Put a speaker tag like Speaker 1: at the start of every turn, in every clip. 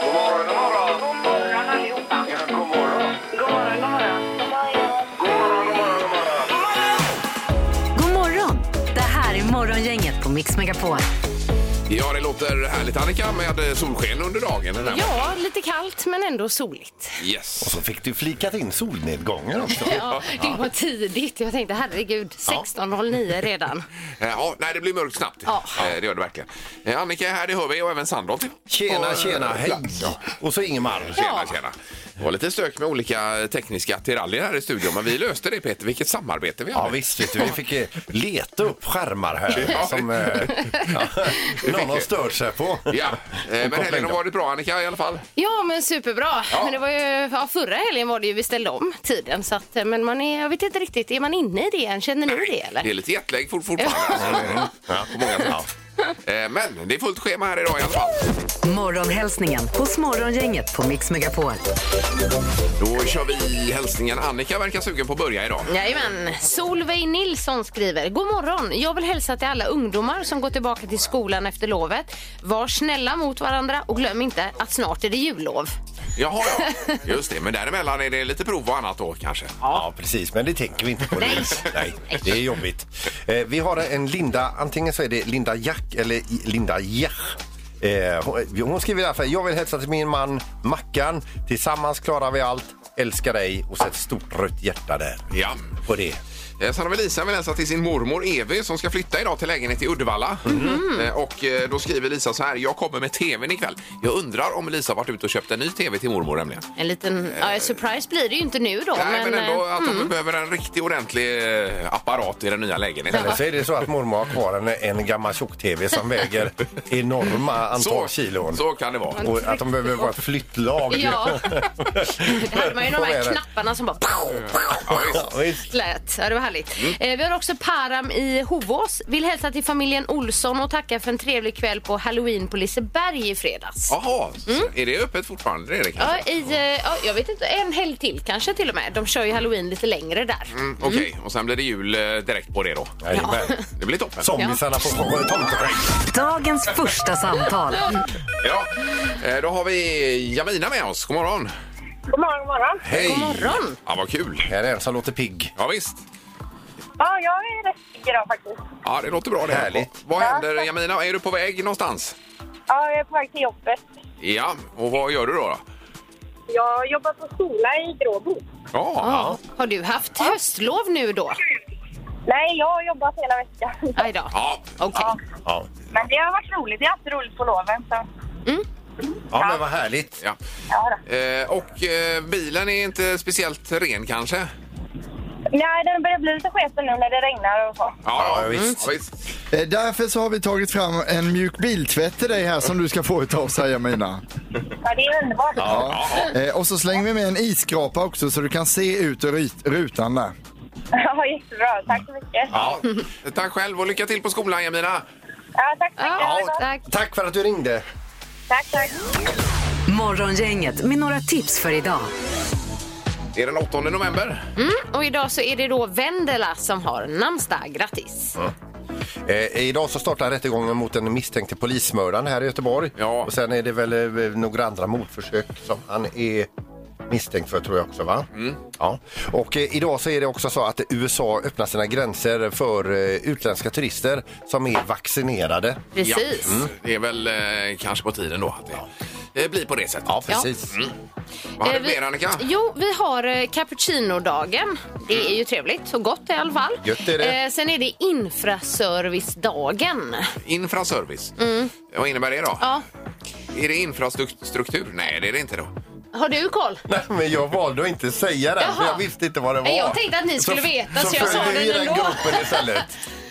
Speaker 1: God morgon, god morgon.
Speaker 2: God morgon allihopa.
Speaker 1: Ja, god morgon.
Speaker 2: God morgon, god morgon.
Speaker 1: God morgon, god morgon, god morgon.
Speaker 3: God morgon! Det här är Morgongänget på Mix Megapol.
Speaker 4: Ja, det låter härligt Annika med solsken under dagen. Den här
Speaker 5: Ja, lite kallt men ändå soligt.
Speaker 4: morgonen. Yes.
Speaker 6: Så fick du flikat in solnedgången också.
Speaker 5: Ja, det var tidigt. Jag tänkte herregud, 16.09 redan.
Speaker 4: Eh, Ja, nej, det blir mörkt snabbt.
Speaker 5: Ja.
Speaker 4: Eh, Det gör det verkligen. Eh, Annika är här, det hör vi, och även Sandholt.
Speaker 6: Tjena, tjena, hej! Och så Ingemar.
Speaker 4: Tjena, tjena. Det var lite stök med olika tekniska attiraljer här i studion, men vi löste det Peter. Vilket samarbete vi
Speaker 6: Ja
Speaker 4: hade.
Speaker 6: visst, vet du, vi fick eh, leta upp skärmar här som eh, ja, någon har stört sig på.
Speaker 4: Ja, eh, men helgen var det bra Annika i alla fall.
Speaker 5: Ja, men superbra.
Speaker 4: Ja.
Speaker 5: Men det var ju, ja, förra helgen var det ju vi ställde om tiden. Så att, eh, men man är, jag vet inte riktigt, är man inne i det än? Känner ni det
Speaker 4: Det
Speaker 5: eller?
Speaker 4: är lite jetlag fort, fortfarande. alltså. Ja, på många sätt. Eh, Men det är fullt schema här idag i alla fall.
Speaker 3: Morgonhälsningen hos Morgongänget på Mix Megapol.
Speaker 4: Då kör vi hälsningen. Annika verkar sugen på att börja idag.
Speaker 5: Jajamän. Solveig Nilsson skriver. God morgon. Jag vill hälsa till alla ungdomar som går tillbaka till skolan efter lovet. Var snälla mot varandra och glöm inte att snart är det jullov.
Speaker 4: Jaha, ja. Just det. Men däremellan är det lite prov och annat då kanske.
Speaker 6: Ja, precis, men det tänker vi inte på. Nej. Nej, det är jobbigt. Eh, vi har en Linda, antingen så är det Linda Jack eller I- Linda Jach. Eh, hon, hon skriver därför, jag vill hälsa till min man Mackan. Tillsammans klarar vi allt. Älskar dig och sätt stort rött hjärta där.
Speaker 4: Ja.
Speaker 6: På det.
Speaker 4: Eh, Sen har vi Lisa vill hälsa till sin mormor Evy som ska flytta idag till lägenhet i Uddevalla. Eh, Och eh, då skriver Lisa så här. Jag kommer med tvn ikväll. Jag undrar om Lisa har varit ute och köpt en ny tv till mormor nämligen.
Speaker 5: En liten ja, surprise blir det ju inte nu då.
Speaker 4: Nej, men
Speaker 5: eh,
Speaker 4: ändå att hon behöver en riktig ordentlig eh, apparat i den nya lägenheten.
Speaker 6: Eller så är det så att mormor har kvar en, en gammal tjock-tv som väger enorma antal kilon.
Speaker 4: så kan det vara.
Speaker 6: Och att de behöver vara ett flyttlag.
Speaker 5: Ja. Det hade man ju de
Speaker 6: Vad
Speaker 5: här
Speaker 6: är det?
Speaker 5: knapparna som bara
Speaker 4: Ja, visst.
Speaker 6: Ja, visst.
Speaker 5: lät. Ja, det var härligt.
Speaker 4: Mm.
Speaker 5: Eh, vi har också Param i Hovås. Vill hälsa till familjen Olsson och tacka för en trevlig kväll på Halloween på Liseberg i fredags.
Speaker 4: Jaha, så- är det öppet fortfarande? Det är det kanske?
Speaker 5: Ja, i, eh, ja, jag vet inte, en helg till kanske till och med. De kör ju Halloween lite längre där.
Speaker 4: Mm, Okej, och sen blir det jul eh, direkt på det då.
Speaker 6: Jajamän.
Speaker 4: Det blir toppen.
Speaker 6: Zombiesarna på tomteränk.
Speaker 3: Dagens första samtal.
Speaker 4: Ja, eh, då har vi Jamina med oss. God morgon!
Speaker 2: God morgon, god morgon.
Speaker 6: Hej!
Speaker 5: God morgon!
Speaker 4: Ja, vad kul!
Speaker 6: Här är en som låter pigg.
Speaker 4: Ja, visst.
Speaker 2: Ja, jag är rätt pigg idag faktiskt.
Speaker 4: Ja, det låter bra det. här.
Speaker 6: Härligt.
Speaker 4: Vad händer Jamina? Är du på väg någonstans?
Speaker 2: Ja, jag är på väg till jobbet.
Speaker 4: Ja, och vad gör du då? då?
Speaker 2: Jag jobbar på skola i Gråbo.
Speaker 4: Ja, ja.
Speaker 5: Har du haft höstlov nu då?
Speaker 2: Nej, jag har jobbat hela veckan.
Speaker 5: Aj då.
Speaker 4: ja.
Speaker 5: Okej.
Speaker 2: Ja,
Speaker 6: Ja.
Speaker 2: men det har varit roligt. Det är alltid roligt på loven. Så.
Speaker 6: ja, men vad härligt.
Speaker 4: ja.
Speaker 2: Ja, då.
Speaker 4: Eh, och eh, bilen är inte speciellt ren kanske?
Speaker 2: Nej, den börjar bli lite sketen nu när det regnar och så.
Speaker 6: Ja, visst.
Speaker 4: Ja, visst.
Speaker 7: Eh, Därför så har vi tagit fram en mjuk biltvätt till dig här som du ska få utav oss här Jamina.
Speaker 2: Ja, det är underbart.
Speaker 7: Ja. Eh, Och så slänger vi med en isskrapa också så du kan se ut ur ryt- rutan där.
Speaker 2: Ja, jättebra. Tack så mycket.
Speaker 4: Ja. Tack själv och lycka till på skolan Jamina!
Speaker 2: Ja, tack så mycket. Ha det
Speaker 5: Ja,
Speaker 2: gott.
Speaker 5: tack.
Speaker 6: Tack för att du ringde.
Speaker 2: Tack, tack.
Speaker 3: Morgongänget med några tips för idag.
Speaker 4: Det är den 8 november.
Speaker 5: Och idag så är det då Vendela som har namnsdag. Grattis!
Speaker 6: Eh, idag så startar rättegången mot den misstänkte polismördaren här i Göteborg.
Speaker 4: Ja.
Speaker 6: Och sen är det väl eh, några andra mordförsök som han är misstänkt för tror jag också va? Ja. Och eh, idag så är det också så att USA öppnar sina gränser för eh, utländska turister som är vaccinerade.
Speaker 5: Precis.
Speaker 4: Ja. Mm. Det är väl eh, kanske på tiden då att det eh, blir på det sättet.
Speaker 6: Ja, precis.
Speaker 4: Vad hade
Speaker 5: Eh,
Speaker 4: du mer Annika?
Speaker 5: Jo, vi har eh, cappuccinodagen. Det är ju trevligt och gott i alla fall.
Speaker 6: Gött är det.
Speaker 5: Eh, sen är det infraservicedagen.
Speaker 4: Infraservice. Vad innebär det då?
Speaker 5: Mm. Ja.
Speaker 4: Är det infrastruktur? Nej, det är det inte då.
Speaker 5: Har du koll?
Speaker 6: Nej, men jag valde att inte säga det, för
Speaker 5: Jaha.
Speaker 6: jag visste inte vad det var.
Speaker 5: Nej, jag tänkte att ni skulle veta, så jag sa
Speaker 6: följde
Speaker 5: den
Speaker 6: vi den
Speaker 5: ändå.
Speaker 6: gruppen istället.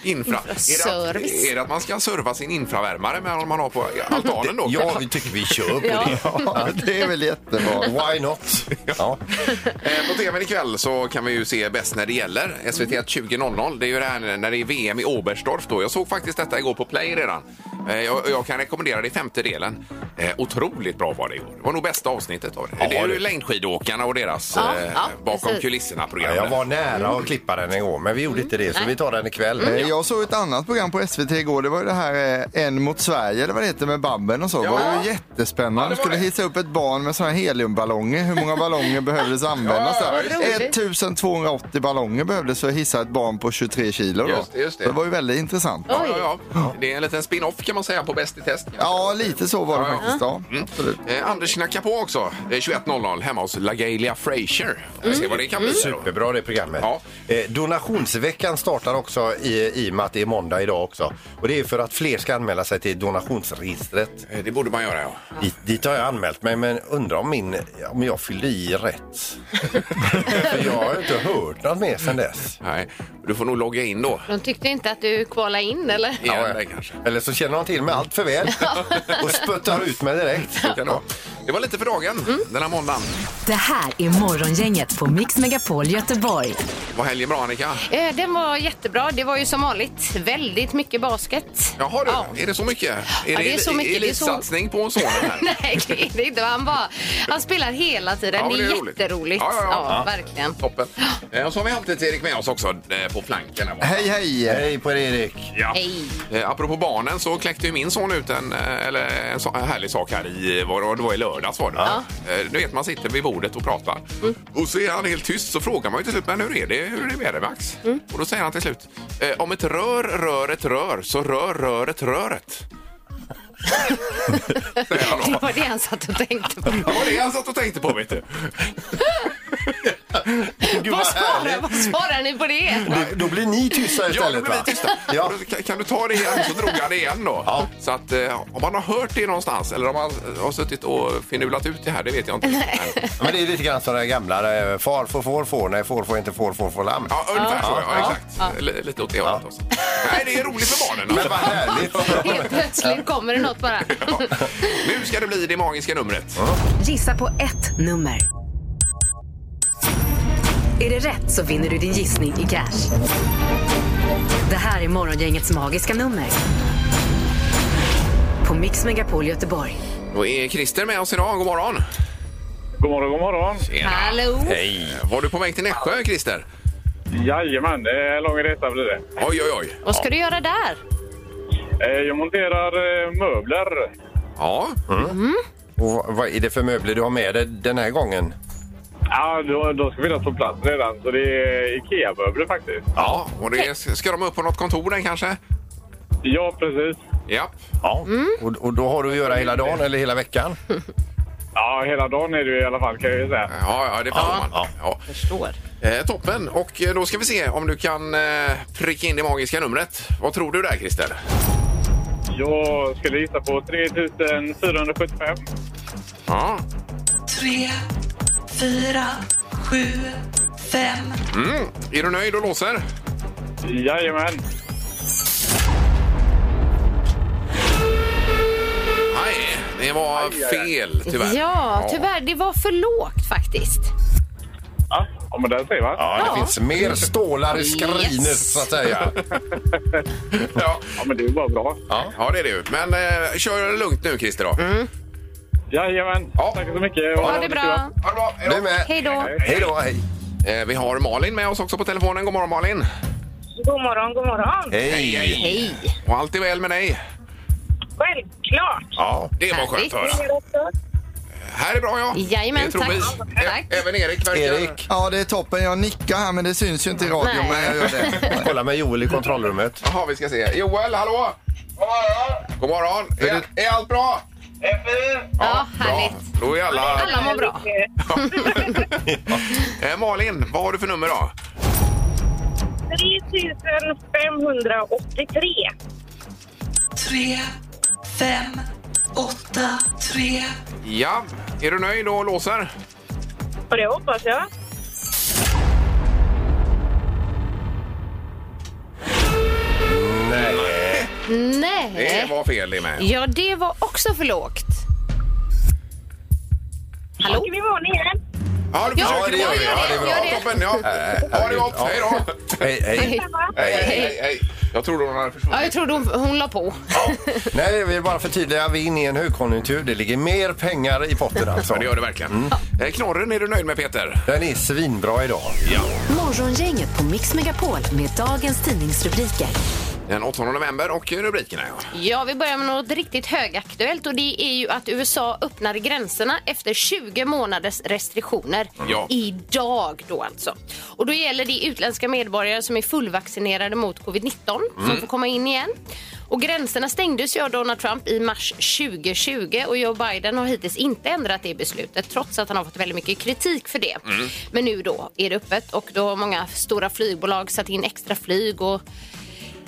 Speaker 4: Infra. Är, det att,
Speaker 5: Infraservice.
Speaker 4: är det att man ska serva sin infravärmare med vad man har på altanen då?
Speaker 6: Ja, vi tycker vi kör på det.
Speaker 7: Ja, det är väl jättebra.
Speaker 6: Why not? Ja.
Speaker 4: Eh, På tvn ikväll så kan vi ju se Bäst när det gäller.
Speaker 5: Mm.
Speaker 4: SVT 20.00. Det är ju det här när det är VM i Oberstdorf då. Jag såg faktiskt detta igår på Play redan. Eh, Jag, jag kan rekommendera det i femte delen. Eh, otroligt bra var det i år. Det var nog bästa avsnittet av det.
Speaker 6: Ja,
Speaker 4: det är ju
Speaker 6: det.
Speaker 4: längdskidåkarna och deras
Speaker 5: Ja,
Speaker 4: eh,
Speaker 5: ja,
Speaker 4: bakom
Speaker 5: precis.
Speaker 6: Ja,
Speaker 4: kulisserna-program.
Speaker 6: jag var nära att klippa den igår, men vi gjorde inte det, så vi tar den ikväll.
Speaker 7: Eh,
Speaker 4: Mm.
Speaker 7: Jag såg ett annat program på SVT igår. Det var ju det här eh, En mot Sverige, eller vad det heter, med Babben och så. Det var ju jättespännande.
Speaker 4: Ja, det
Speaker 7: De
Speaker 4: var
Speaker 7: skulle
Speaker 4: det.
Speaker 7: hissa upp ett barn med sådana här heliumballonger. Hur många ballonger behövdes användas?
Speaker 4: Ja,
Speaker 7: där?
Speaker 5: roligt.
Speaker 7: 1280 ballonger behövdes för att hissa ett barn på 23 kilo. då.
Speaker 4: Just det, just det.
Speaker 7: Så det var ju väldigt intressant.
Speaker 4: Ja, ja, ja. Det är en liten spin-off kan man säga på Bäst i test.
Speaker 7: Ja, lite så var det faktiskt. Ja, absolut.
Speaker 4: Eh, Anders knackar på också. Det är 21.00 hemma hos LaGalia Frazier. Får vi
Speaker 5: Mm.
Speaker 4: se vad det kan bli. då.
Speaker 6: Superbra det programmet.
Speaker 4: Mm. Ja.
Speaker 6: Eh, donationsveckan startar också i, i och med att det är måndag idag också. Och det är för att fler ska anmäla sig till donationsregistret.
Speaker 4: Eh, Det borde man göra, ja.
Speaker 6: Dit, dit har jag anmält mig, men undrar om, min, om jag fyllde i rätt. För jag har ju inte hört något mer sedan dess.
Speaker 4: Nej. Du får nog logga in då.
Speaker 5: De tyckte inte att du kvalade in, eller?
Speaker 4: Igen,
Speaker 6: Ja,
Speaker 4: där,
Speaker 6: ja.
Speaker 4: kanske.
Speaker 6: Eller så känner de till mig allt för väl och spöttar ut mig direkt.
Speaker 4: Det kan det vara. Det var lite för dagen
Speaker 5: Mm.
Speaker 4: den här måndagen.
Speaker 3: Det här är Morgongänget på Mix Megapol Göteborg.
Speaker 4: Var helgen bra, Annika?
Speaker 5: Eh, Den var jättebra. Det var ju som vanligt väldigt mycket basket.
Speaker 4: Jaha du,
Speaker 5: Ja.
Speaker 4: är det så mycket? Är
Speaker 5: Ja, det är så mycket. Det är så-
Speaker 4: elitsatsning på sonen här?
Speaker 5: Nej, det är det inte. Han, bara, han spelar hela tiden.
Speaker 4: Ja, men
Speaker 5: det är,
Speaker 4: det är roligt.
Speaker 5: jätteroligt.
Speaker 4: Ja, ja, ja.
Speaker 5: verkligen.
Speaker 4: Toppen. Eh, Och så har vi alltid Erik med oss också eh, på planken. Här borta.
Speaker 7: Hej, hej!
Speaker 6: Hej på dig Erik!
Speaker 4: Ja.
Speaker 5: Hej.
Speaker 4: Eh, apropå barnen så kläckte ju min son ut en, eh, eller en, så, en härlig sak här i, var, det- det var i lördags var det. Eh, du vet man sitter vid bordet och pratar
Speaker 6: Mm.
Speaker 4: och så är han helt tyst så frågar man ju till slut men hur är det, hur är det med dig Max?
Speaker 6: Mm.
Speaker 4: Och då säger han till slut eh, om ett rör rör ett rör så rör röret röret. säger han
Speaker 5: Det
Speaker 4: då.
Speaker 5: var det han satt och tänkte på.
Speaker 4: Det var det han satt och tänkte på vet du.
Speaker 6: Gud,
Speaker 5: Vad svarar,
Speaker 6: härligt.
Speaker 5: vad svarar ni på det?
Speaker 6: Det- Då blir ni tysta
Speaker 4: Ja, då
Speaker 6: istället
Speaker 4: blir vi tysta.
Speaker 6: Ja.
Speaker 4: Och då Kan, kan du ta det igen? Så drog jag det igen då.
Speaker 6: Ja.
Speaker 4: Så att eh, om man har hört det någonstans eller om man har suttit och finulat ut det här, det vet jag inte. Nej.
Speaker 6: Men det är lite grann som den gamla eh, far får får får, nej får får inte får får får lamm.
Speaker 4: Ja, ungefär så. Ja, exakt. L- lite åt det hållet också. Nej, det är roligt för barnen. alltså.
Speaker 6: Men vad härligt!
Speaker 5: Helt plötsligt kommer det något bara.
Speaker 4: Ja. Nu ska det bli det magiska numret.
Speaker 3: Gissa på ett nummer. Är det rätt så vinner du din gissning i cash. Det här är Morgongängets magiska nummer. På Mix Megapol Göteborg.
Speaker 4: Då är Christer med oss idag. God morgon!
Speaker 8: God morgon, god morgon.
Speaker 5: Hallå?
Speaker 4: Hej! Var du på väg till Nässjö, Christer?
Speaker 8: Jajamän, det är lång resa blir det.
Speaker 4: Oj, oj, oj.
Speaker 5: Vad ska du göra där?
Speaker 8: Eh, Jag monterar eh, möbler.
Speaker 4: Ja,
Speaker 6: Mm. Och vad är det för möbler du har med dig den här gången?
Speaker 8: Ja, då, då ska vi finnas på plats redan, så det är IKEA-möbler faktiskt.
Speaker 4: ja. Och det, ska de upp på något kontor den kanske?
Speaker 8: Ja, precis.
Speaker 4: Ja.
Speaker 6: Ja. Mm. Och, och då har du att göra hela dagen eller hela veckan?
Speaker 8: Ja, hela dagen är det i alla fall kan jag ju säga.
Speaker 4: Ja, ja, det förstår man.
Speaker 6: ja.
Speaker 4: Ja.
Speaker 5: Förstår.
Speaker 4: Eh, toppen! Och eh, då ska vi se om du kan eh, pricka in det magiska numret. Vad tror du där, Christer?
Speaker 8: Jag skulle gissa på 3475.
Speaker 4: Ja.
Speaker 9: tre, fyra, sju, fem.
Speaker 4: Mm. Är du nöjd och låser?
Speaker 8: Jajamän.
Speaker 4: Nej, det var fel tyvärr.
Speaker 5: Ja, tyvärr. Det var för lågt faktiskt.
Speaker 8: Ja, ja, men där ser man.
Speaker 6: Ja, det
Speaker 5: Ja.
Speaker 6: finns mer stålar i skrinet
Speaker 5: Yes.
Speaker 6: så att säga.
Speaker 4: Ja.
Speaker 8: Ja, men det är ju bara bra.
Speaker 4: Ja. ja, det är det ju. Men eh, kör lugnt nu, Christer. Då.
Speaker 8: Jajamän.
Speaker 4: Ja.
Speaker 8: Tack så mycket.
Speaker 5: Ha det bra.
Speaker 4: Ha det bra. Hej
Speaker 6: Du
Speaker 4: då.
Speaker 6: är med.
Speaker 5: Hej då.
Speaker 6: Hej då, hej.
Speaker 4: Eh, vi har Malin med oss också på telefonen. God morgon, Malin!
Speaker 2: God morgon, god morgon.
Speaker 6: Hej.
Speaker 5: Hej.
Speaker 4: Och allt är väl med dig?
Speaker 2: Självklart.
Speaker 6: Ja.
Speaker 4: Det var skönt att höra.
Speaker 2: Ni är också.
Speaker 4: Här är bra, ja.
Speaker 5: Jajamän,
Speaker 4: det tror
Speaker 5: tack.
Speaker 4: vi. Ä-
Speaker 5: Tack.
Speaker 4: Även Erik verkar...
Speaker 6: Erik,
Speaker 7: Ja, det är toppen. Jag nickar här, men det syns ju inte i radio.
Speaker 5: Nej.
Speaker 7: Men jag gör det.
Speaker 6: kolla med Joel i kontrollrummet.
Speaker 4: Jaha, vi ska se. Joel, hallå! God morgon! Är, är allt bra?
Speaker 5: Ja,
Speaker 4: Bra.
Speaker 5: härligt.
Speaker 4: Då är alla...
Speaker 5: Alla mår bra.
Speaker 4: Eh, Malin, vad har du för nummer då?
Speaker 2: 3583.
Speaker 9: Tre, fem, åtta, tre.
Speaker 4: Ja, är du nöjd och låser?
Speaker 2: Och det hoppas jag.
Speaker 6: Nej.
Speaker 4: Det
Speaker 5: Nej.
Speaker 4: var fel det med.
Speaker 5: Ja, det var också för lågt. Hallå?
Speaker 2: Åker vi imorgon igen?
Speaker 4: Ja, du
Speaker 5: Ja,
Speaker 4: försöker
Speaker 5: det gör vi. Ja, det är bra.
Speaker 4: Ja, toppen, ja. Ha det gott. Hej då.
Speaker 6: Hej, hej.
Speaker 4: Hej, hej, hej. Jag trodde hon hade
Speaker 5: Ja,
Speaker 4: försvunnit.
Speaker 5: jag trodde hon, hon la på.
Speaker 6: Nej, vi vill bara förtydliga. Vi är inne i en högkonjunktur. Det ligger mer pengar i potten alltså.
Speaker 4: Ja, det gör det verkligen. Eh, Knorren är du nöjd med, Peter?
Speaker 6: Den är svinbra idag.
Speaker 4: Ja.
Speaker 3: Morgongänget på Mix Megapol med dagens tidningsrubriker.
Speaker 4: Den 8 november och rubrikerna, ja.
Speaker 5: Ja, vi börjar med något riktigt högaktuellt och det är ju att USA öppnar gränserna efter 20 månaders restriktioner.
Speaker 4: Ja.
Speaker 5: Idag då alltså. Och då gäller det utländska medborgare som är fullvaccinerade mot covid-19 som får komma in igen. Och gränserna stängdes ju av Donald Trump i mars 2020 och Joe Biden har hittills inte ändrat det beslutet trots att han har fått väldigt mycket kritik för det. Men nu då är det öppet och då har många stora flygbolag satt in extra flyg och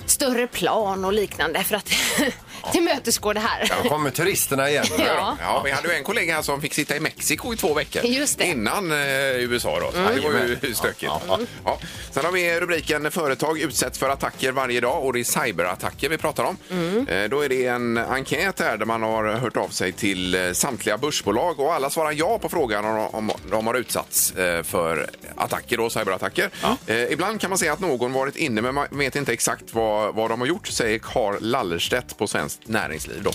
Speaker 5: större plan och liknande för att tillmötesgå det här.
Speaker 6: Då kommer turisterna igen.
Speaker 5: Ja.
Speaker 4: Ja, vi hade ju en kollega här som fick sitta i Mexiko i två veckor
Speaker 5: Just det. Mm.
Speaker 4: innan eh, USA. Då. Så Det var ju stökigt. Mm. Ja, Sen har vi rubriken Företag utsätts för attacker varje dag och det är cyberattacker vi pratar om.
Speaker 5: Mm.
Speaker 4: Eh, Då är det en enkät här där man har hört av sig till eh, samtliga börsbolag och alla svarar ja på frågan om, om de har utsatts eh, för attacker och cyberattacker. Eh, Ibland kan man säga att någon varit inne men man vet inte exakt vad, vad de har gjort säger Karl Lallerstedt på Svenskt Näringsliv då,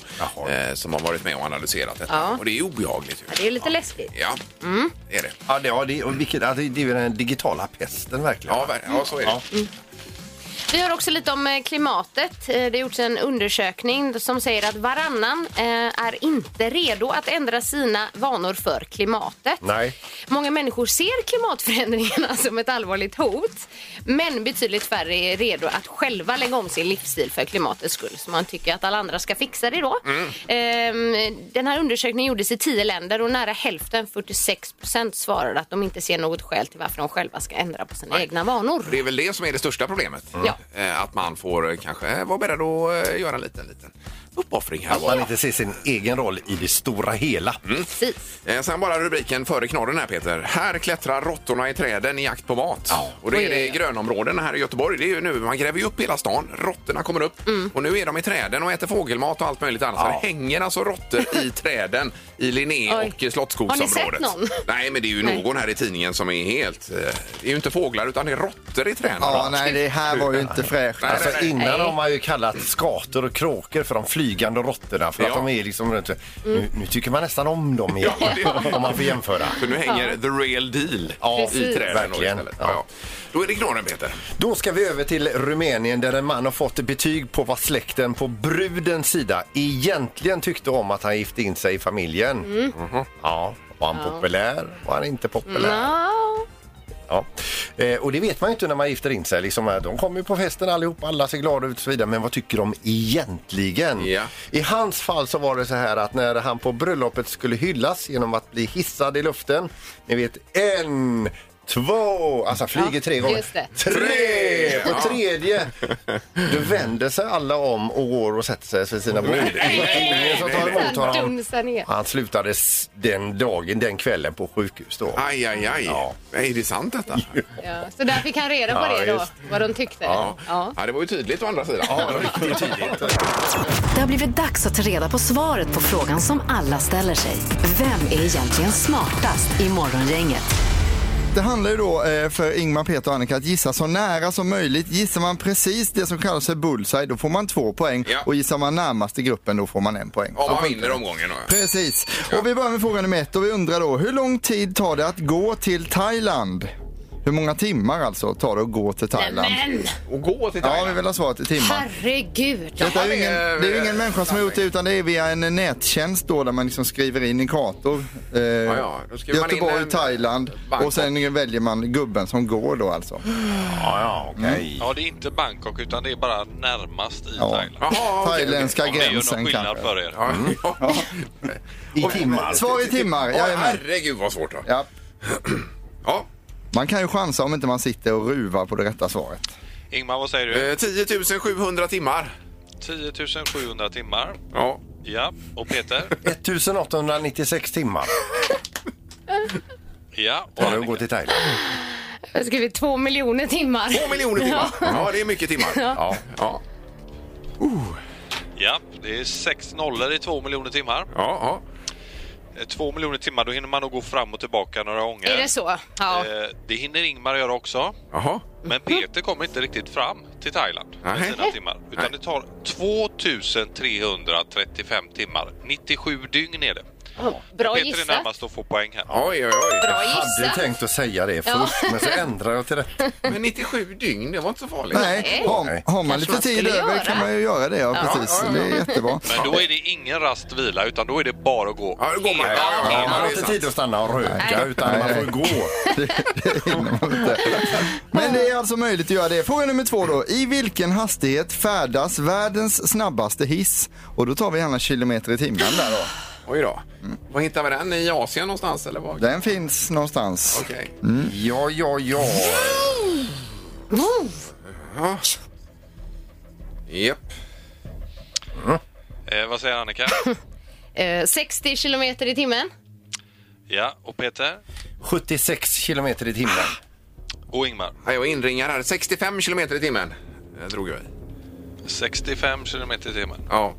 Speaker 4: eh, som har varit med och analyserat detta.
Speaker 5: Ja.
Speaker 4: Och det är obehagligt. Ju.
Speaker 5: Det är lite läskigt.
Speaker 4: Ja, det är Mm. det.
Speaker 6: Ja, det, ja, det, och vilket, ja, det, det är ju den digitala pesten verkligen.
Speaker 4: Ja, ver- ja, så är det.
Speaker 5: Vi har också lite om eh, klimatet. Eh, Det har gjorts en undersökning som säger att varannan eh, är inte redo att ändra sina vanor för klimatet.
Speaker 6: Nej.
Speaker 5: Många människor ser klimatförändringarna som ett allvarligt hot men betydligt färre är redo att själva lägga om sin livsstil för klimatets skull. Så man tycker att alla andra ska fixa det då. Ehm, Den här undersökningen gjordes i tio länder och nära hälften, 46 procent, svarade att de inte ser något skäl till varför de själva ska ändra på sina egna vanor.
Speaker 4: Det är väl det som är det största problemet.
Speaker 5: Ja.
Speaker 4: Eh, Att man får eh, kanske vara beredd att eh, göra en liten, liten uppoffring här.
Speaker 6: Att man inte ser sin egen roll i det stora hela.
Speaker 5: Precis.
Speaker 4: Eh, Sen bara rubriken före knorren här Peter. Här klättrar råttorna i träden i jakt på mat. Och det är
Speaker 5: Oj, oj,
Speaker 4: det
Speaker 5: oj.
Speaker 4: grönområden här i Göteborg. Det är ju nu, man gräver ju upp hela stan. Råttorna kommer upp.
Speaker 5: Mm.
Speaker 4: Och nu är de i träden och äter fågelmat och allt möjligt annat. Så det hänger alltså råttor i träden i Linné
Speaker 5: Oj.
Speaker 4: och i Slottsskogsområdet.
Speaker 5: Har ni sett någon?
Speaker 4: Nej, men det är ju
Speaker 5: Nej.
Speaker 4: någon här i tidningen som är helt... eh, Det är ju inte fåglar utan det är råttor i träden.
Speaker 7: Ja, nej, det här var ju inte fräscht.
Speaker 4: Nej,
Speaker 7: Alltså,
Speaker 4: nej,
Speaker 6: Alltså,
Speaker 4: nej.
Speaker 6: innan har man ju kallat skator och kråkor för de flygande råttorna. För att
Speaker 4: Ja.
Speaker 6: de är liksom runt. Nu, nu tycker man nästan om dem igen.
Speaker 4: Ja, det-
Speaker 6: Om man får jämföra.
Speaker 4: För nu hänger the real deal i
Speaker 5: Precis.
Speaker 4: träden.
Speaker 6: Verkligen.
Speaker 4: istället. Ja. Ja. Då är det knorren Peter.
Speaker 6: Då ska vi över till Rumänien där en man har fått betyg på vad släkten på brudens sida egentligen tyckte om att han gifte in sig i familjen.
Speaker 4: Mm.
Speaker 6: Mhm. Ja, var han populär? Var han inte populär?
Speaker 5: Ja.
Speaker 6: Ja. Eh, och det vet man ju inte när man gifter in sig. Liksom, eh, de kommer ju på festen allihop, alla ser glada ut och så vidare. Men vad tycker de egentligen?
Speaker 4: Ja.
Speaker 6: I hans fall så var det så här att när han på bröllopet skulle hyllas genom att bli hissad i luften. Ni vet en, två, alltså flyger tre gånger.
Speaker 5: just det.
Speaker 6: Tre! På
Speaker 4: Ja.
Speaker 6: tredje. Då vänder sig alla om och går och sätter sig vid sina bord. Ingen som tar emot honom.
Speaker 5: Dunsa ner.
Speaker 6: Han slutade s- den dagen, den kvällen på sjukhus då.
Speaker 4: Aj, aj, aj.
Speaker 6: Ja.
Speaker 4: Är det sant detta?
Speaker 5: Ja, så där fick han reda på
Speaker 6: Ja,
Speaker 5: det då,
Speaker 6: just.
Speaker 5: vad de tyckte.
Speaker 4: Ja.
Speaker 5: Ja.
Speaker 4: ja, det var ju tydligt å andra sidan.
Speaker 6: Ja, riktigt tydligt.
Speaker 3: Det har blivit dags att ta reda på svaret på frågan som alla ställer sig. Vem är egentligen smartast i Morgongänget?
Speaker 7: Det handlar ju då eh, för Ingmar, Peter och Annika att gissa så nära som möjligt. Gissar man precis det som kallas för bullseye då får man två poäng
Speaker 4: Ja.
Speaker 7: och gissar man närmast i gruppen då får man en poäng.
Speaker 4: Om
Speaker 7: Så
Speaker 4: man
Speaker 7: skit-
Speaker 4: vinner omgången. då.
Speaker 7: Precis. Och vi börjar med fråga nummer ett och vi undrar då hur lång tid tar det att gå till Thailand? Hur många timmar alltså tar det att gå till Thailand?
Speaker 5: Men
Speaker 4: Och gå till
Speaker 7: Ja,
Speaker 4: Thailand.
Speaker 7: vi vill ha svaret i timmar.
Speaker 5: herregud!
Speaker 7: Detta är ju ingen,
Speaker 4: Ja, det är-
Speaker 7: det är ju ingen människa som har gjort det utan det är via en nättjänst då där man liksom skriver in en kartor. Eh,
Speaker 4: ja, då skriver man in
Speaker 7: Göteborg,
Speaker 4: en- eh,
Speaker 7: Thailand
Speaker 4: Bangkok.
Speaker 7: och sen väljer man gubben som går då alltså.
Speaker 6: Ja, ja, okej.
Speaker 10: Ja, det är inte Bangkok utan det är bara närmast i
Speaker 7: Ja.
Speaker 10: Thailand.
Speaker 4: Jaha, okej.
Speaker 7: Thailändska
Speaker 10: Om det gör någon
Speaker 7: gränsen
Speaker 10: skillnad
Speaker 7: kanske.
Speaker 10: för er.
Speaker 4: Ja, ja.
Speaker 6: I timmar.
Speaker 7: Svar i timmar,
Speaker 4: Åh,
Speaker 7: jajamän.
Speaker 4: herregud vad svårt. Då. Ja.
Speaker 7: Ja, man kan ju chansa om inte man sitter och ruvar på det rätta svaret.
Speaker 10: Ingmar, vad säger du?
Speaker 4: Eh, 10 700 timmar.
Speaker 10: 10 700 timmar.
Speaker 4: Ja.
Speaker 10: Ja. Och Peter?
Speaker 6: 1896 timmar
Speaker 10: Ja. Och
Speaker 6: tar det att gå
Speaker 10: Annika?
Speaker 6: till Thailand.
Speaker 5: Jag har skrivit två miljoner timmar.
Speaker 4: 2 miljoner timmar. Ja, det är mycket timmar. Ja. Ja.
Speaker 10: Ja. Det är sex nollor i två miljoner timmar.
Speaker 4: Ja. Ja.
Speaker 10: Eh, Två miljoner timmar, då hinner man nog gå fram och tillbaka några gånger.
Speaker 5: Är det så? Ja. Mhm.
Speaker 10: Eh, Det hinner Ingmar göra också.
Speaker 4: Jaha.
Speaker 10: Men Peter kommer inte riktigt fram till Thailand med
Speaker 4: Nej.
Speaker 10: sina timmar. Utan det tar 2335 timmar. 97 dygn är det.
Speaker 5: Bra
Speaker 10: Peter är
Speaker 5: gissat.
Speaker 10: närmast att få poäng här.
Speaker 4: Oj, oj, oj.
Speaker 5: Bra
Speaker 6: Hade
Speaker 5: gissat.
Speaker 6: tänkt att säga det först, men så ändrar jag till rätt.
Speaker 4: Men 97 dygn, det var inte så farligt.
Speaker 7: Nej, har, har man lite
Speaker 5: man
Speaker 7: tid
Speaker 5: skulle
Speaker 7: över
Speaker 5: göra.
Speaker 7: kan man ju göra det. Ja, precis.
Speaker 4: ja, ja.
Speaker 7: Det är jättebra.
Speaker 10: Men då är det ingen rast vila utan då är det bara att gå.
Speaker 4: Ja, då går man. Ja, ja, ja,
Speaker 6: Man
Speaker 4: ja,
Speaker 6: har
Speaker 4: det är
Speaker 6: inte
Speaker 4: sant.
Speaker 6: tid att stanna och röka, utan man får ju gå.
Speaker 7: Det, det hinner man inte. Men det är alltså möjligt att göra det. Fråga nummer två då. I vilken hastighet färdas världens snabbaste hiss? Och då tar vi gärna kilometer i timmen där då.
Speaker 4: Oj då. Var hittar vi den? I Asien någonstans eller vad?
Speaker 7: Den finns någonstans.
Speaker 4: Okej.
Speaker 6: Ja, ja, ja.
Speaker 4: Japp.
Speaker 10: Eh, vad säger Annika?
Speaker 5: Eh, 60 kilometer i timmen.
Speaker 10: ja, och Peter?
Speaker 6: 76 kilometer i timmen.
Speaker 10: Och Ingmar?
Speaker 4: Ja, Jag inringar här. 65 kilometer i timmen. Jag drog jag i.
Speaker 10: 65 kilometer i timmen.
Speaker 4: Ja.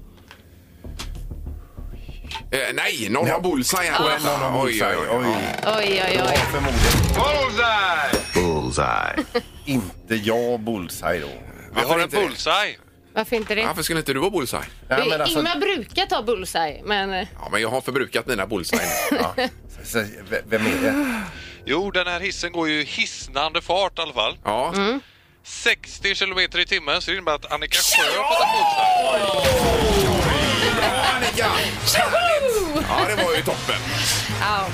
Speaker 4: Eh, nej, någon har bullseye här. Någon har bullseye. Oj, oj, oj.
Speaker 5: Oj, oj, oj.
Speaker 6: Förmodligen
Speaker 4: Bullseye!
Speaker 6: inte jag bullseye då.
Speaker 10: Vi
Speaker 4: Varför
Speaker 10: har en
Speaker 4: inte det?
Speaker 10: bullseye.
Speaker 5: Varför inte det?
Speaker 4: Varför skulle inte du ha bullseye?
Speaker 6: Nej, men alltså,
Speaker 5: Ingmar brukar ta bullseye, men... eh,
Speaker 4: Ja, men jag har förbrukat mina bullseye.
Speaker 6: så- v- vem är det?
Speaker 10: Jo, den här hissen går ju hisnande fart i alla fall.
Speaker 4: Ja.
Speaker 10: 60 kilometer i timmen, så det innebär att Annika Sjö har fått en bullseye.
Speaker 4: Annika! Härligt! Ja, det var ju toppen.
Speaker 5: Ja.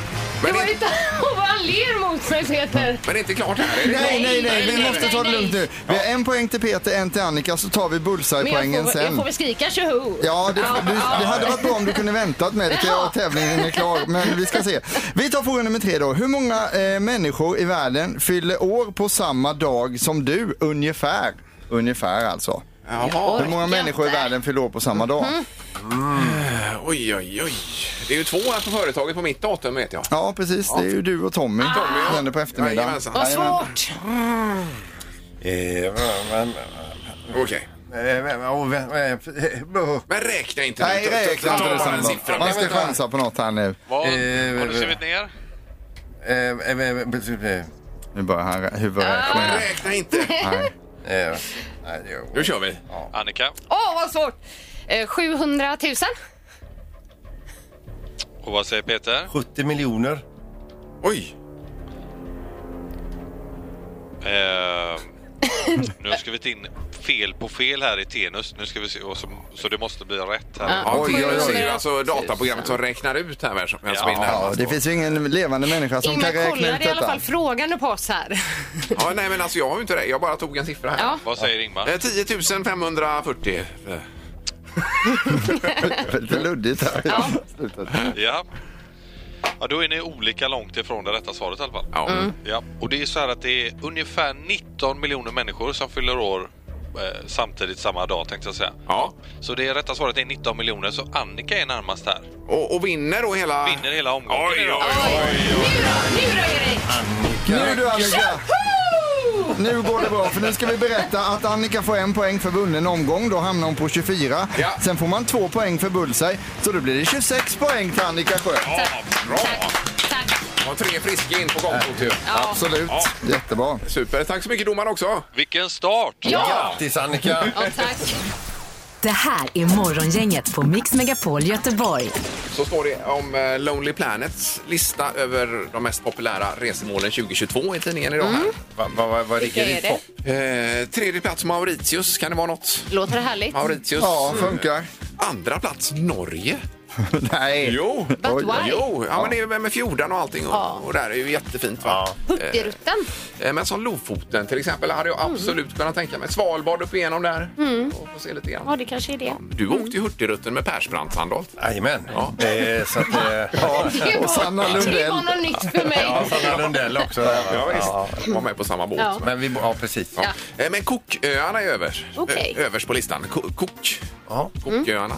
Speaker 4: Men
Speaker 5: Det var ju inte... Åh, vad han ler mot mig, Peter!
Speaker 4: Men det är inte klart här. Är det
Speaker 7: Nej, nej, nej, vi
Speaker 5: Nej,
Speaker 7: måste
Speaker 5: nej,
Speaker 7: ta det
Speaker 5: nej.
Speaker 7: lugnt nu. Vi har en poäng till Peter, en till Annika, så tar vi
Speaker 5: Men jag
Speaker 7: bullseye-poängen
Speaker 5: får, jag
Speaker 7: sen.
Speaker 5: får väl skrika tjoho!
Speaker 7: Ja, det, du, det hade varit bra om du kunde väntat med det till
Speaker 5: Ja.
Speaker 7: tävlingen är klar, men vi ska se. Vi tar fråga nummer tre då. Hur många eh, människor i världen fyller år på samma dag som du, ungefär? Ungefär alltså.
Speaker 4: Jaha.
Speaker 7: Hur många människor i världen fyller år på samma dag?
Speaker 5: Mm-hmm.
Speaker 4: Oj, oj, oj. Det är ju två här på företaget på mitt datum vet jag.
Speaker 7: Ja, precis. Det är ju du och Tommy.
Speaker 4: Tommy, ja.
Speaker 7: Det händer på eftermiddagen.
Speaker 4: Jajamensan.
Speaker 5: Ah. Vad svårt!
Speaker 6: Eh, men-
Speaker 4: Okej.
Speaker 6: eh, men- oh, vem- eh,
Speaker 4: Men räkna inte.
Speaker 7: Nej,
Speaker 4: Ta- ta- ta-
Speaker 7: räkna
Speaker 4: ta
Speaker 7: inte det
Speaker 4: bara en
Speaker 7: samma.
Speaker 4: siffra.
Speaker 7: Man ska chansa på något här nu.
Speaker 10: Vad
Speaker 6: Eh,
Speaker 10: har du skrivit ner?
Speaker 6: eh, eh, eh, eh,
Speaker 7: Nu börjar han rä- huvudräkna.
Speaker 4: Men räkna inte.
Speaker 6: eh, nej, jo.
Speaker 4: Nu kör vi.
Speaker 10: Annika,
Speaker 5: Åh, vad svårt! Eh, 700 000?
Speaker 10: och vad säger Peter?
Speaker 6: 70 miljoner.
Speaker 4: Oj.
Speaker 10: Eh, nu har jag skrivit in fel på fel här i Tenus. Nu ska vi se, och så, så det måste bli rätt här.
Speaker 4: Ja,
Speaker 7: Oj,
Speaker 4: oj,
Speaker 7: oj,
Speaker 4: oj,
Speaker 7: oj.
Speaker 4: Det är ju alltså dataprogrammet som räknar ut här vem som vem som är
Speaker 10: Ja.
Speaker 7: Ja,
Speaker 4: närmast.
Speaker 7: det finns ju ingen levande människa som
Speaker 5: Ingmar
Speaker 7: kan räkna ut
Speaker 5: kollade i alla
Speaker 7: detta.
Speaker 5: fall frågande på oss här.
Speaker 4: Ja, nej, men alltså jag har ju inte det. Jag bara tog en siffra här.
Speaker 5: Ja.
Speaker 10: Vad säger Ingmar?
Speaker 4: Eh, 10 540. Eh,
Speaker 7: Lite luddigt här.
Speaker 5: Ja.
Speaker 10: Ja. ja, då är ni olika långt ifrån det rätta svaret i alla fall.
Speaker 4: Ja.
Speaker 10: Ja, och det är så här att det är ungefär 19 miljoner människor som fyller år eh, samtidigt samma dag tänkte jag säga.
Speaker 4: ja.
Speaker 10: Så det rätta svaret är 19 miljoner, så Annika är närmast här.
Speaker 4: Och, och vinner då hela...
Speaker 10: Vinner hela omgången
Speaker 4: Ah. Oj,
Speaker 10: idag.
Speaker 4: oj,
Speaker 5: Nu då, nu då Erik!
Speaker 7: Nu du Annika! Nu går det bra, för nu ska vi berätta att Annika får en poäng för vunnen omgång. Då hamnar hon på 24.
Speaker 4: Ja.
Speaker 7: Sen får man två poäng för bullseye. Så då blir det 26 poäng till Annika Sjö.
Speaker 4: Ja, bra.
Speaker 5: Tack!
Speaker 4: Och tre friska in på kontot ju.
Speaker 5: Ja.
Speaker 7: Absolut. Jättebra.
Speaker 4: Super. Tack så mycket domaren också.
Speaker 10: Vilken start!
Speaker 5: Ja!
Speaker 6: Grattis Annika!
Speaker 5: ja, tack!
Speaker 3: Det här är Morgongänget på Mix Megapol Göteborg.
Speaker 4: Så står det om eh, Lonely Planets lista över de mest populära resemålen 2022 i tidningen idag. Här.
Speaker 6: Vad va, va, vad
Speaker 5: Vilka
Speaker 6: ligger
Speaker 5: är
Speaker 6: i
Speaker 5: det?
Speaker 6: topp?
Speaker 4: Eh, tredje plats Mauritius. Kan det vara något?
Speaker 5: Låter det härligt?
Speaker 4: Mauritius.
Speaker 7: Ja, funkar.
Speaker 4: Andra plats Norge.
Speaker 7: Nej.
Speaker 4: Jo.
Speaker 5: But why?
Speaker 4: Jo, ja, men det är ju med fjordarna och allting och, och där är ju jättefint. Va?
Speaker 5: Hurtigruten?
Speaker 4: Eh, Men som Lofoten till exempel hade jag
Speaker 5: Mhm.
Speaker 4: absolut kunnat tänka mig. Svalbard upp igenom där. Och få se lite
Speaker 5: Mm. Ja,
Speaker 4: grann.
Speaker 5: det kanske är det.
Speaker 4: Du åkte ju Hurtigruten med Persbrandt Sandholt.
Speaker 6: Jajamän. Eh, så att, eh, ja,
Speaker 5: Det
Speaker 7: Och Sanna
Speaker 5: var, det
Speaker 7: Lundell.
Speaker 5: var något nytt för mig.
Speaker 6: ja, Sanna Lundell också.
Speaker 4: Ja, visst. Var med på samma båt.
Speaker 5: Mm. Ja.
Speaker 6: Men vi, ja, precis.
Speaker 4: Ja. Eh, Men Cooköarna är över. Eh,
Speaker 5: Okej.
Speaker 4: Ö- Överst på listan. Ko- Cook.
Speaker 6: Ja.
Speaker 5: Mm.
Speaker 4: Cooköarna.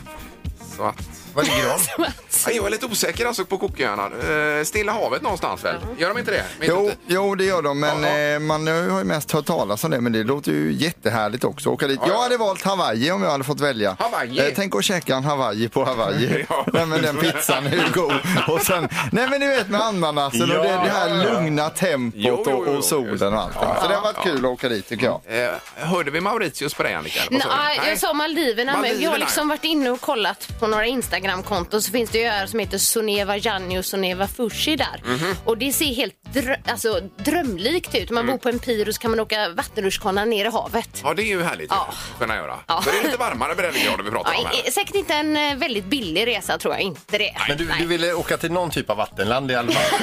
Speaker 4: Så att...
Speaker 6: Var ligger de?
Speaker 4: Ja, Jag är lite osäker alltså på Cooköarna. Eh, Stilla havet någonstans väl? Gör de inte det? Vet
Speaker 7: Jo,
Speaker 4: inte.
Speaker 7: jo, det gör de, men
Speaker 4: Jaha.
Speaker 7: eh, man har ju mest hört talas om det, men det låter ju jättehärligt också att åka dit. Jag hade valt Hawaii om jag hade fått välja. Eh,
Speaker 4: Hawaii?
Speaker 7: tänk att käka en Hawaii på Hawaiji.
Speaker 4: Ja.
Speaker 7: Nej, men den pizzan är ju god. Och sen, nej men ni vet med ananasen
Speaker 6: Ja,
Speaker 7: och det, det här
Speaker 4: ja, ja.
Speaker 7: lugna tempot
Speaker 4: Jo, jo, jo,
Speaker 7: och, och
Speaker 4: just
Speaker 7: solen
Speaker 4: det.
Speaker 7: och allting. Så det har varit kul att åka dit tycker jag.
Speaker 4: Eh, hörde vi Mauritius på dig Annika? Vad sa du?
Speaker 5: Nej, jag sa Maldiverna, men jag har
Speaker 4: Maldiverna.
Speaker 5: liksom varit inne och kollat på några Instagram-konton så finns det ju öar som heter Soneva Janni och Soneva Fushi där. Och det ser helt drö- alltså, drömlikt ut. Om man bor på en pir och så kan man åka vattenrutschkana ner i havet.
Speaker 4: Ja, det är ju härligt
Speaker 5: Ja.
Speaker 4: att kunna göra.
Speaker 5: Ja.
Speaker 4: Men det är lite varmare breddgrader vi pratar om
Speaker 5: Ja,
Speaker 4: här.
Speaker 5: eh, säkert inte en eh, väldigt billig resa tror jag inte det.
Speaker 6: Men du, du ville åka till någon typ av vattenland i alla fall?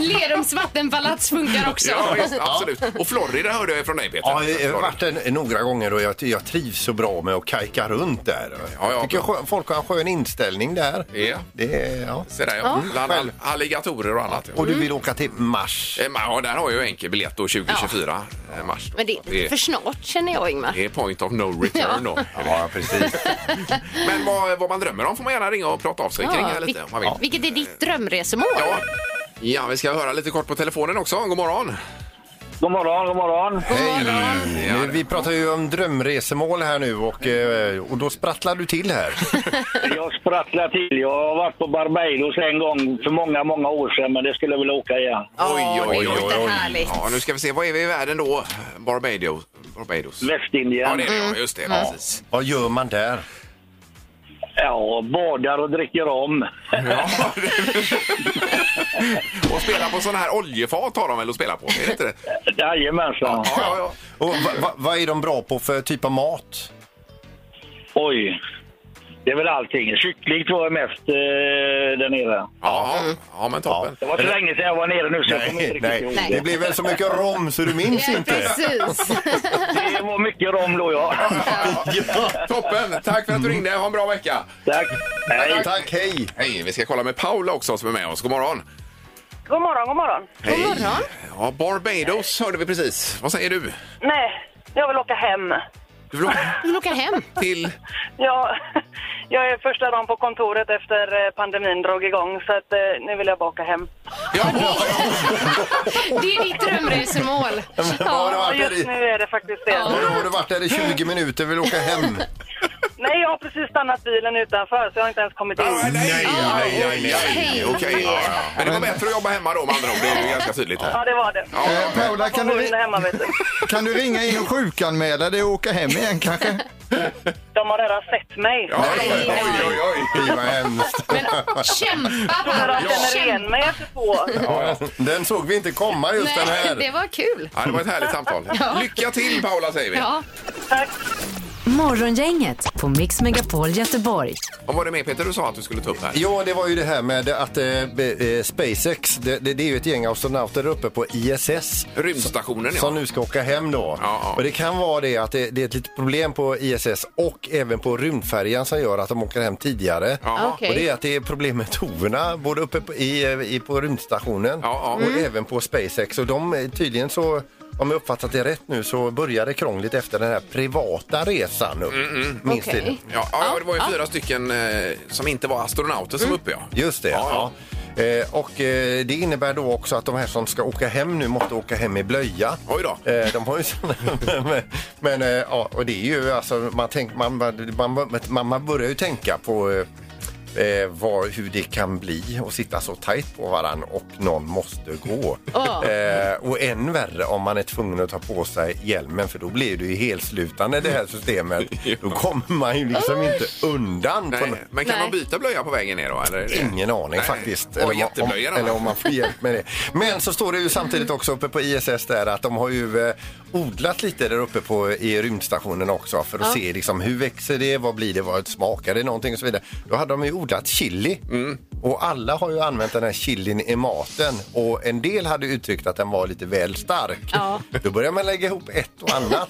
Speaker 5: Lerums vattenpalats funkar också.
Speaker 4: Ja, just, absolut. Och Florida hörde jag från dig Peter.
Speaker 6: Ja, jag har
Speaker 4: Florida.
Speaker 6: varit där några gånger och jag, jag trivs så bra med att kajka runt där.
Speaker 4: Ja, ja.
Speaker 6: Jag tycker skö- folk har en skön inställning där.
Speaker 4: Ja.
Speaker 6: Det är, ja.
Speaker 4: Se där, ja. Bland all,
Speaker 6: Själv.
Speaker 4: alligatorer och annat.
Speaker 6: Och du vill åka till Mars?
Speaker 4: Eh, men, Ja, där har jag ju enkel biljett då 2024 eh, mars. Då.
Speaker 5: Men det är lite för snart känner jag Ingmar.
Speaker 4: det är point of no return då.
Speaker 6: Ja, precis.
Speaker 4: Men vad, vad man drömmer om får man gärna ringa och prata av sig kring här lite om man vill.
Speaker 5: vil- vilket är ditt drömresmål?
Speaker 4: Ja. ja, vi ska höra lite kort på telefonen också. God morgon!
Speaker 8: God morgon, god morgon.
Speaker 6: Hej! Nu, Vi pratar ju om drömresemål här nu och, eh, och då sprattlar du till här.
Speaker 8: Jag sprattlar till. Jag har varit på Barbados en gång för många, många år sedan, men det skulle jag vilja åka igen.
Speaker 5: Ja,
Speaker 4: Oj, oj,
Speaker 5: det
Speaker 4: oj,
Speaker 5: låter
Speaker 4: oj, oj.
Speaker 5: härligt.
Speaker 4: Ja, nu ska vi se. Vad är vi i världen då? Barbados? Barbados.
Speaker 8: Västindien.
Speaker 4: Ja, det är det. ja, Just det. Precis.
Speaker 6: Vad gör man där?
Speaker 8: Ja, badar och dricker om.
Speaker 4: Ja. och spela på sådana här oljefat har de väl att spela på? Är det inte det?
Speaker 8: Jajamensan.
Speaker 4: Ja, ja, ja.
Speaker 6: Och va, va, vad är de bra på för typ av mat?
Speaker 8: Oj. Det är väl allting. Kyckling tror jag mest eh, där nere.
Speaker 4: Ja, ja men toppen.
Speaker 8: Det var så länge sedan jag var nere nu så jag kommer inte
Speaker 6: Nej,
Speaker 8: riktigt ihåg
Speaker 6: nej, det
Speaker 8: det.
Speaker 6: blir väl så mycket rom så du minns
Speaker 5: Ja,
Speaker 6: inte.
Speaker 5: precis.
Speaker 8: Det var mycket rom då, ja.
Speaker 4: Ja. Toppen! Tack för att du ringde. Ha en bra vecka.
Speaker 8: Tack. Hej.
Speaker 6: Tack, hej!
Speaker 4: Hej, vi ska kolla med Paula också som är med oss. God morgon!
Speaker 2: God morgon, god morgon.
Speaker 4: God morgon! Ja, Barbados hörde vi precis. Vad säger du?
Speaker 2: Nej, jag vill åka hem.
Speaker 4: Du vill åka
Speaker 5: Vi vill åka hem.
Speaker 4: till...
Speaker 2: Jag, jag är första dagen på kontoret efter eh, pandemin drog igång så att eh, nu vill jag bara åka hem.
Speaker 4: Ja, ja.
Speaker 5: Det är ditt drömresmål.
Speaker 6: Vad har du
Speaker 2: Och
Speaker 6: varit där
Speaker 2: just
Speaker 6: i?
Speaker 2: nu är det faktiskt det.
Speaker 6: Har du- har du varit där i 20 minuter vill åka hem?
Speaker 2: Nej, jag har precis stannat bilen utanför så jag har inte ens kommit in.
Speaker 4: nej, nej, nej, nej,
Speaker 5: Hej.
Speaker 4: Okej. Ja, ja. Men det var bättre att jobba hemma då med andra ord. Det är ju ganska tydligt här.
Speaker 2: Ja, det var det.
Speaker 4: Ja,
Speaker 7: Eh, Paula, kan
Speaker 2: Man
Speaker 7: du,
Speaker 2: bor inne
Speaker 7: ri-
Speaker 2: hemma, vet du.
Speaker 7: kan du ringa in och sjukanmäla dig och åka hem igen kanske?
Speaker 2: De har redan sett mig.
Speaker 4: Ja, oj, oj, oj.
Speaker 6: Fy vad hemskt.
Speaker 5: Kämpa
Speaker 2: De
Speaker 5: bara.
Speaker 2: redan känner igen mig efter två år.
Speaker 6: Den såg vi inte komma just den
Speaker 5: Nej,
Speaker 6: här.
Speaker 5: det var kul.
Speaker 4: Ja, det var ett härligt samtal. Lycka till Paula säger vi.
Speaker 5: Ja.
Speaker 2: Tack.
Speaker 3: Morgongänget på Mix Megapol Göteborg.
Speaker 4: Vad var det med Peter du sa att du skulle ta upp här?
Speaker 6: Ja, det var ju det här med att eh, be- eh, SpaceX, det, det, det är ju ett gäng astronauter uppe på ISS.
Speaker 4: Rymdstationen
Speaker 6: Som
Speaker 4: ja.
Speaker 6: nu ska åka hem då.
Speaker 4: Ja, ja.
Speaker 6: Och det kan vara det att det, det är ett litet problem på ISS och även på rymdfärjan som gör att de åker hem tidigare.
Speaker 4: Ja.
Speaker 5: Okej.
Speaker 6: Och det är att det är problem med toorna både uppe på, i, eh, i, på rymdstationen
Speaker 4: Ja, ja.
Speaker 6: och
Speaker 5: Mm.
Speaker 6: även på SpaceX. Och de eh, tydligen så, om jag uppfattat det rätt nu, så började krångligt efter den här privata resan upp.
Speaker 4: Mm,
Speaker 6: Minst
Speaker 5: Okej.
Speaker 6: tiden.
Speaker 4: Ja, ja, Mm. det var ju fyra stycken eh, som inte var astronauter som var uppe ja.
Speaker 6: Just det.
Speaker 4: Ja,
Speaker 6: Ja, Eh, och eh, det innebär då också att de här som ska åka hem nu måste åka hem i blöja.
Speaker 4: Oj då.
Speaker 6: Eh, de har ju såna, men, men eh, ja, och det är ju alltså man, tänk, man, man, man, man, man börjar ju tänka på eh, eh, vad, hur det kan bli att sitta så tajt på varann och någon måste gå.
Speaker 5: Ja.
Speaker 6: Eh, och än värre om man är tvungen att ta på sig hjälmen för då blir det ju helslutande det här systemet. Då kommer man ju liksom inte undan. på nå-
Speaker 4: Nej, men kan
Speaker 5: Nej.
Speaker 4: man byta blöja på vägen ner då? Eller är det...
Speaker 6: Ingen aning
Speaker 4: Nej.
Speaker 6: faktiskt.
Speaker 4: Och
Speaker 6: Eller om, om,
Speaker 4: jätteblöjorna, va?
Speaker 6: eller om man får hjälp med det. Men så står det ju samtidigt också uppe på ISS där att de har ju eh, odlat lite där uppe på, i rymdstationen också för att
Speaker 4: Mm.
Speaker 6: se liksom, hur växer det, vad blir det, vad smakar det någonting och så vidare. Då hade de ju odlat chili. Och alla har ju använt den här chilin i maten och en del hade uttryckt att den var lite väl stark.
Speaker 5: Ja.
Speaker 6: Då börjar man lägga ihop ett och annat.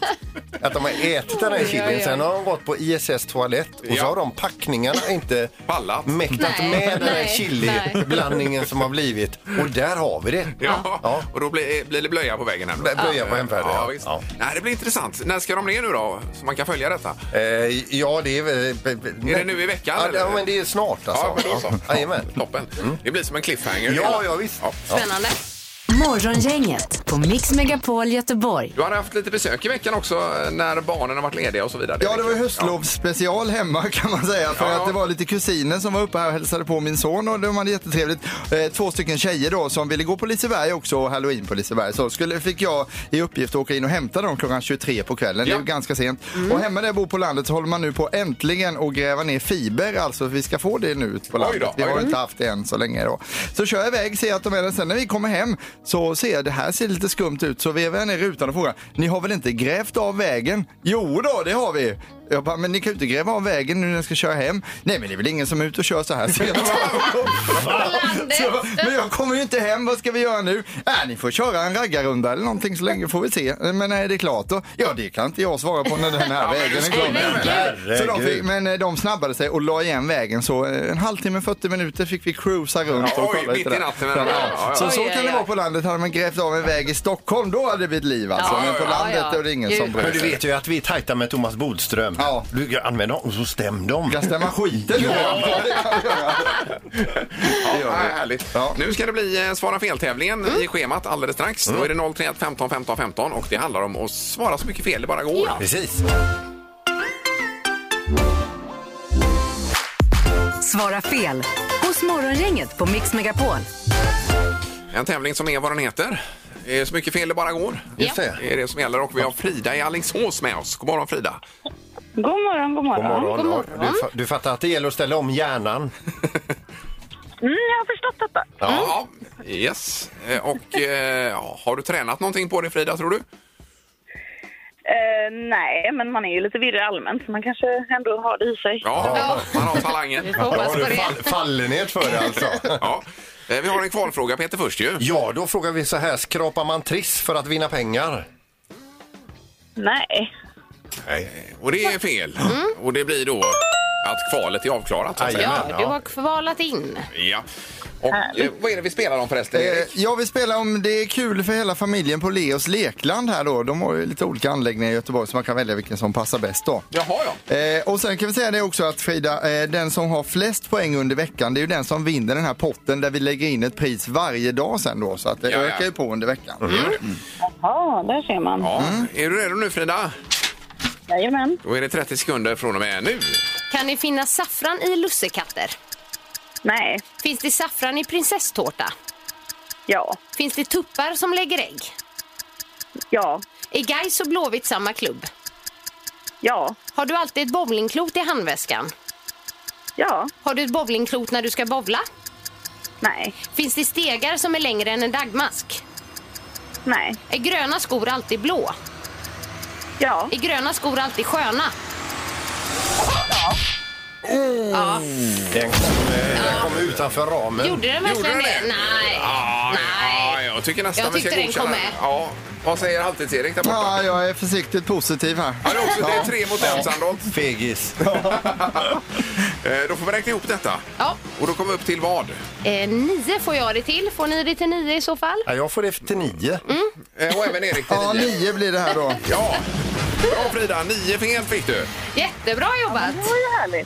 Speaker 6: Att de har ätit den här chilin, sen har de gått på ISS toalett och
Speaker 4: Ja.
Speaker 6: så har de packningarna inte
Speaker 4: Pallat.
Speaker 6: mäktat
Speaker 5: Nej,
Speaker 6: med den här
Speaker 5: nej,
Speaker 6: chiliblandningen som har blivit. Och där har vi det.
Speaker 4: Ja.
Speaker 6: Ja.
Speaker 4: och då blir, blir det blöja på vägen hem. då.
Speaker 6: Blö- blöja på hemfärden,
Speaker 4: Ja,
Speaker 6: ja.
Speaker 4: visst.
Speaker 6: Ja.
Speaker 4: Nej, det blir intressant. När ska de ner nu då? Så man kan följa detta.
Speaker 6: Eh, ja, det är väl...
Speaker 4: Är det nu i veckan,
Speaker 6: Ja,
Speaker 4: eller?
Speaker 6: ja men det är snart alltså.
Speaker 4: Ja, men då så.
Speaker 6: Jajamän. Mm.
Speaker 4: Toppen. Det blir som en cliffhanger.
Speaker 6: Ja, ja, visst.
Speaker 5: Spännande.
Speaker 3: Morgongänget på Mix Megapol Göteborg.
Speaker 4: Du har haft lite besök i veckan också när barnen har varit lediga och så vidare.
Speaker 7: Ja, det var ju höstlovsspecial hemma kan man säga. För
Speaker 4: Ja.
Speaker 7: att det var lite kusiner som var uppe här och hälsade på min son och de hade jättetrevligt. Eh, två stycken tjejer då som ville gå på Liseberg också och halloween på Liseberg. Så skulle, fick jag i uppgift att åka in och hämta dem klockan 23 på kvällen. Det
Speaker 4: Ja. Mm.
Speaker 7: är ju ganska sent. Och hemma där jag bor på landet så håller man nu på äntligen att gräva ner fiber. Alltså vi ska få det nu ute på
Speaker 4: Oj då,
Speaker 7: landet. Vi
Speaker 4: oj
Speaker 7: har
Speaker 4: då.
Speaker 7: inte haft det än så länge då. Så kör jag iväg, ser att de är där. Sen när vi kommer hem så ser jag det här ser lite skumt ut. Så vevar jag ner rutan och frågar, ni har väl inte grävt av vägen? Jo då, det har vi. Jag bara, men ni kan ju inte gräva av vägen nu när jag ska köra hem. Nej, men det är väl ingen som är ute och kör så här sent. Så jag bara, men jag kommer ju inte hem, vad ska vi göra nu? Äh, ni får köra en raggarrunda eller någonting så länge får vi se. Men är det klart då? Ja, det kan inte jag svara på när den här vägen är klar. Så de fick, men eh, de snabbade sig och la igen vägen så eh, en halvtimme, 40 minuter fick vi cruisa runt
Speaker 4: Ja,
Speaker 7: och
Speaker 4: oj,
Speaker 7: kolla
Speaker 4: mitt i
Speaker 7: där.
Speaker 4: natten.
Speaker 7: Ja,
Speaker 4: Ja, ja, ja.
Speaker 7: Så, så
Speaker 5: Oj,
Speaker 7: kan
Speaker 5: oj,
Speaker 7: det
Speaker 5: oj.
Speaker 7: vara på landet. Hade man grävt av en väg i Stockholm då hade det blivit liv alltså.
Speaker 5: Ja,
Speaker 7: men på
Speaker 5: ja,
Speaker 7: landet
Speaker 5: ja.
Speaker 7: är det ingen som
Speaker 5: Gud.
Speaker 6: Men
Speaker 7: bryr
Speaker 6: du
Speaker 7: sig.
Speaker 6: vet ju att vi är tajta med Thomas Bodström.
Speaker 7: Ja.
Speaker 6: Du använder dem och så stäm dem.
Speaker 7: Kan stämma skiten ja.
Speaker 4: Ja, härligt.
Speaker 7: Ja.
Speaker 4: Nu ska det bli eh, Svara fel-tävlingen
Speaker 6: Mm.
Speaker 4: i schemat alldeles strax. Då är det 031 15 15 15 och det handlar om att svara så mycket fel det bara går.
Speaker 6: Precis.
Speaker 3: Svara fel hos Morgongänget på Mix Megapol.
Speaker 4: En tävling som är vad den heter. Det är Så mycket fel det bara går.
Speaker 6: Just
Speaker 5: Ja.
Speaker 6: det.
Speaker 4: Det är det som gäller och vi har Frida i Alingsås med oss. God morgon Frida.
Speaker 2: God morgon,
Speaker 6: God
Speaker 2: god morgon.
Speaker 6: morgon.
Speaker 5: God morgon.
Speaker 6: Du, fa- du fattar att det gäller att ställa om hjärnan.
Speaker 2: Mm, jag har förstått detta.
Speaker 4: Ja, yes. Eh, Och eh, ja, har du tränat någonting på det Frida tror du?
Speaker 2: Eh, nej, men man är ju lite virrig allmänt så man kanske ändå har det i sig.
Speaker 4: Ja, man har
Speaker 5: Vi
Speaker 4: talangen.
Speaker 5: får hoppas på
Speaker 6: du
Speaker 5: det.
Speaker 6: fall, fallenhet för det alltså.
Speaker 4: Ja. Eh, Vi har en kvalfråga Peter först ju.
Speaker 6: Ja, då frågar vi så här. Skrapar man triss för att vinna pengar?
Speaker 2: Nej.
Speaker 6: Nej.
Speaker 4: Eh, Och det är fel. Och det blir då att kvalet är avklarat. så att säga.
Speaker 5: Mm. Ja,
Speaker 6: Jajamän,
Speaker 5: du
Speaker 6: ja.
Speaker 5: har kvalat in.
Speaker 4: Ja. Och eh, vad är det vi spelar om förresten?
Speaker 7: Eh,
Speaker 4: Erik?
Speaker 7: Ja, vi spelar om det är kul för hela familjen på Leos Lekland här då. De har ju lite olika anläggningar i Göteborg så man kan välja vilken som passar bäst då.
Speaker 4: Jaha, ja.
Speaker 7: Eh, och sen kan vi säga det också att Frida, eh, den som har flest poäng under veckan det är ju den som vinner den här potten där vi lägger in ett pris varje dag sen då. Så att det
Speaker 4: Ja, ja.
Speaker 7: ökar ju på under veckan.
Speaker 2: Jaha, där ser man.
Speaker 4: ja.
Speaker 5: Mm.
Speaker 4: Är du redo nu Frida?
Speaker 2: Jajamän.
Speaker 4: Då är det 30 sekunder från och med nu.
Speaker 5: Kan ni finna saffran i lussekatter?
Speaker 2: Nej.
Speaker 5: Finns det saffran i prinsesstårta?
Speaker 2: Ja.
Speaker 5: Finns det tuppar som lägger ägg?
Speaker 2: Ja.
Speaker 5: Är Gais och Blåvitt samma klubb?
Speaker 2: Ja.
Speaker 5: Har du alltid ett bowlingklot i handväskan?
Speaker 2: Ja.
Speaker 5: Har du ett bowlingklot när du ska bowla?
Speaker 2: Nej.
Speaker 5: Finns det stegar som är längre än en dagmask?
Speaker 2: Nej.
Speaker 5: Är gröna skor alltid blå?
Speaker 2: Ja.
Speaker 5: Är gröna skor alltid sköna?
Speaker 6: Den kom, eh, den kom utanför ramen.
Speaker 5: Gjorde den
Speaker 4: Gjorde
Speaker 5: verkligen
Speaker 4: den
Speaker 5: det?
Speaker 4: det?
Speaker 5: Nej.
Speaker 4: Ah, Ja,
Speaker 5: Nej.
Speaker 4: jag tycker nästan
Speaker 5: Jag
Speaker 4: vi ska
Speaker 5: tyckte den
Speaker 4: godkänna
Speaker 5: kom
Speaker 4: den.
Speaker 5: med.
Speaker 4: Ja. Vad säger Halvtids-Erik där borta?
Speaker 7: Ja, jag är försiktigt positiv här.
Speaker 4: Ja, det, är också, det är tre mot en, Sandholt.
Speaker 6: Fegis.
Speaker 4: Eh, Då får vi räkna ihop detta.
Speaker 5: Ja.
Speaker 4: Och då kommer vi upp till vad?
Speaker 5: Eh, nio får jag det till. Får ni det till nio i så fall?
Speaker 6: Ja, jag får det till nio.
Speaker 4: Eh, Och även Erik till
Speaker 7: Ja,
Speaker 4: nio.
Speaker 7: nio blir det här då.
Speaker 4: Ja. Bra Frida, nio fel fick du.
Speaker 5: Jättebra jobbat!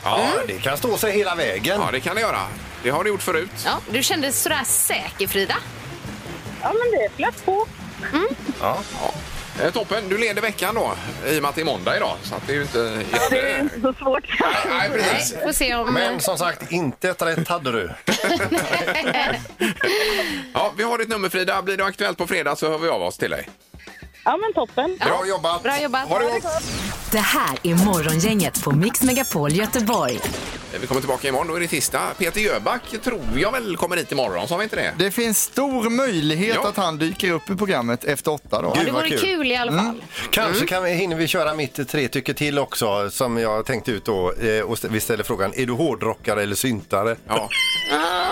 Speaker 6: Ja, det kan stå sig hela vägen.
Speaker 4: Mm. Ja, det kan du göra. Det har du gjort förut.
Speaker 5: Ja, du kändes sådär säker Frida.
Speaker 2: Ja, men det flöt på.
Speaker 4: Eh, Toppen, du leder veckan då, i och med att det är måndag idag. Så att det är ju inte...
Speaker 2: Det är inte så svårt.
Speaker 4: Nej, precis.
Speaker 5: Får se om...
Speaker 6: Men som sagt, inte ett rätt hade du.
Speaker 4: Ja, vi har ditt nummer Frida. Blir det aktuellt på fredag så hör vi av oss till dig.
Speaker 2: Ja, men toppen.
Speaker 6: Bra jobbat!
Speaker 5: Bra jobbat!
Speaker 4: Ha det gott!
Speaker 3: Det här är Morgongänget på Mix Megapol Göteborg.
Speaker 4: Eh, Vi kommer tillbaka imorgon, då är det tisdag. Peter Jöback tror jag väl kommer hit imorgon, sa vi inte det?
Speaker 7: Det finns stor möjlighet
Speaker 4: Ja.
Speaker 7: att han dyker upp i programmet efter åtta då.
Speaker 6: Gud,
Speaker 5: Det
Speaker 6: vad
Speaker 5: vore kul. i alla fall.
Speaker 4: Mm.
Speaker 6: Kanske kan vi, hinner vi köra mitt tre tycker till också som jag tänkte ut då. Eh, och st- vi ställer frågan, är du hårdrockare eller syntare?
Speaker 4: Ja.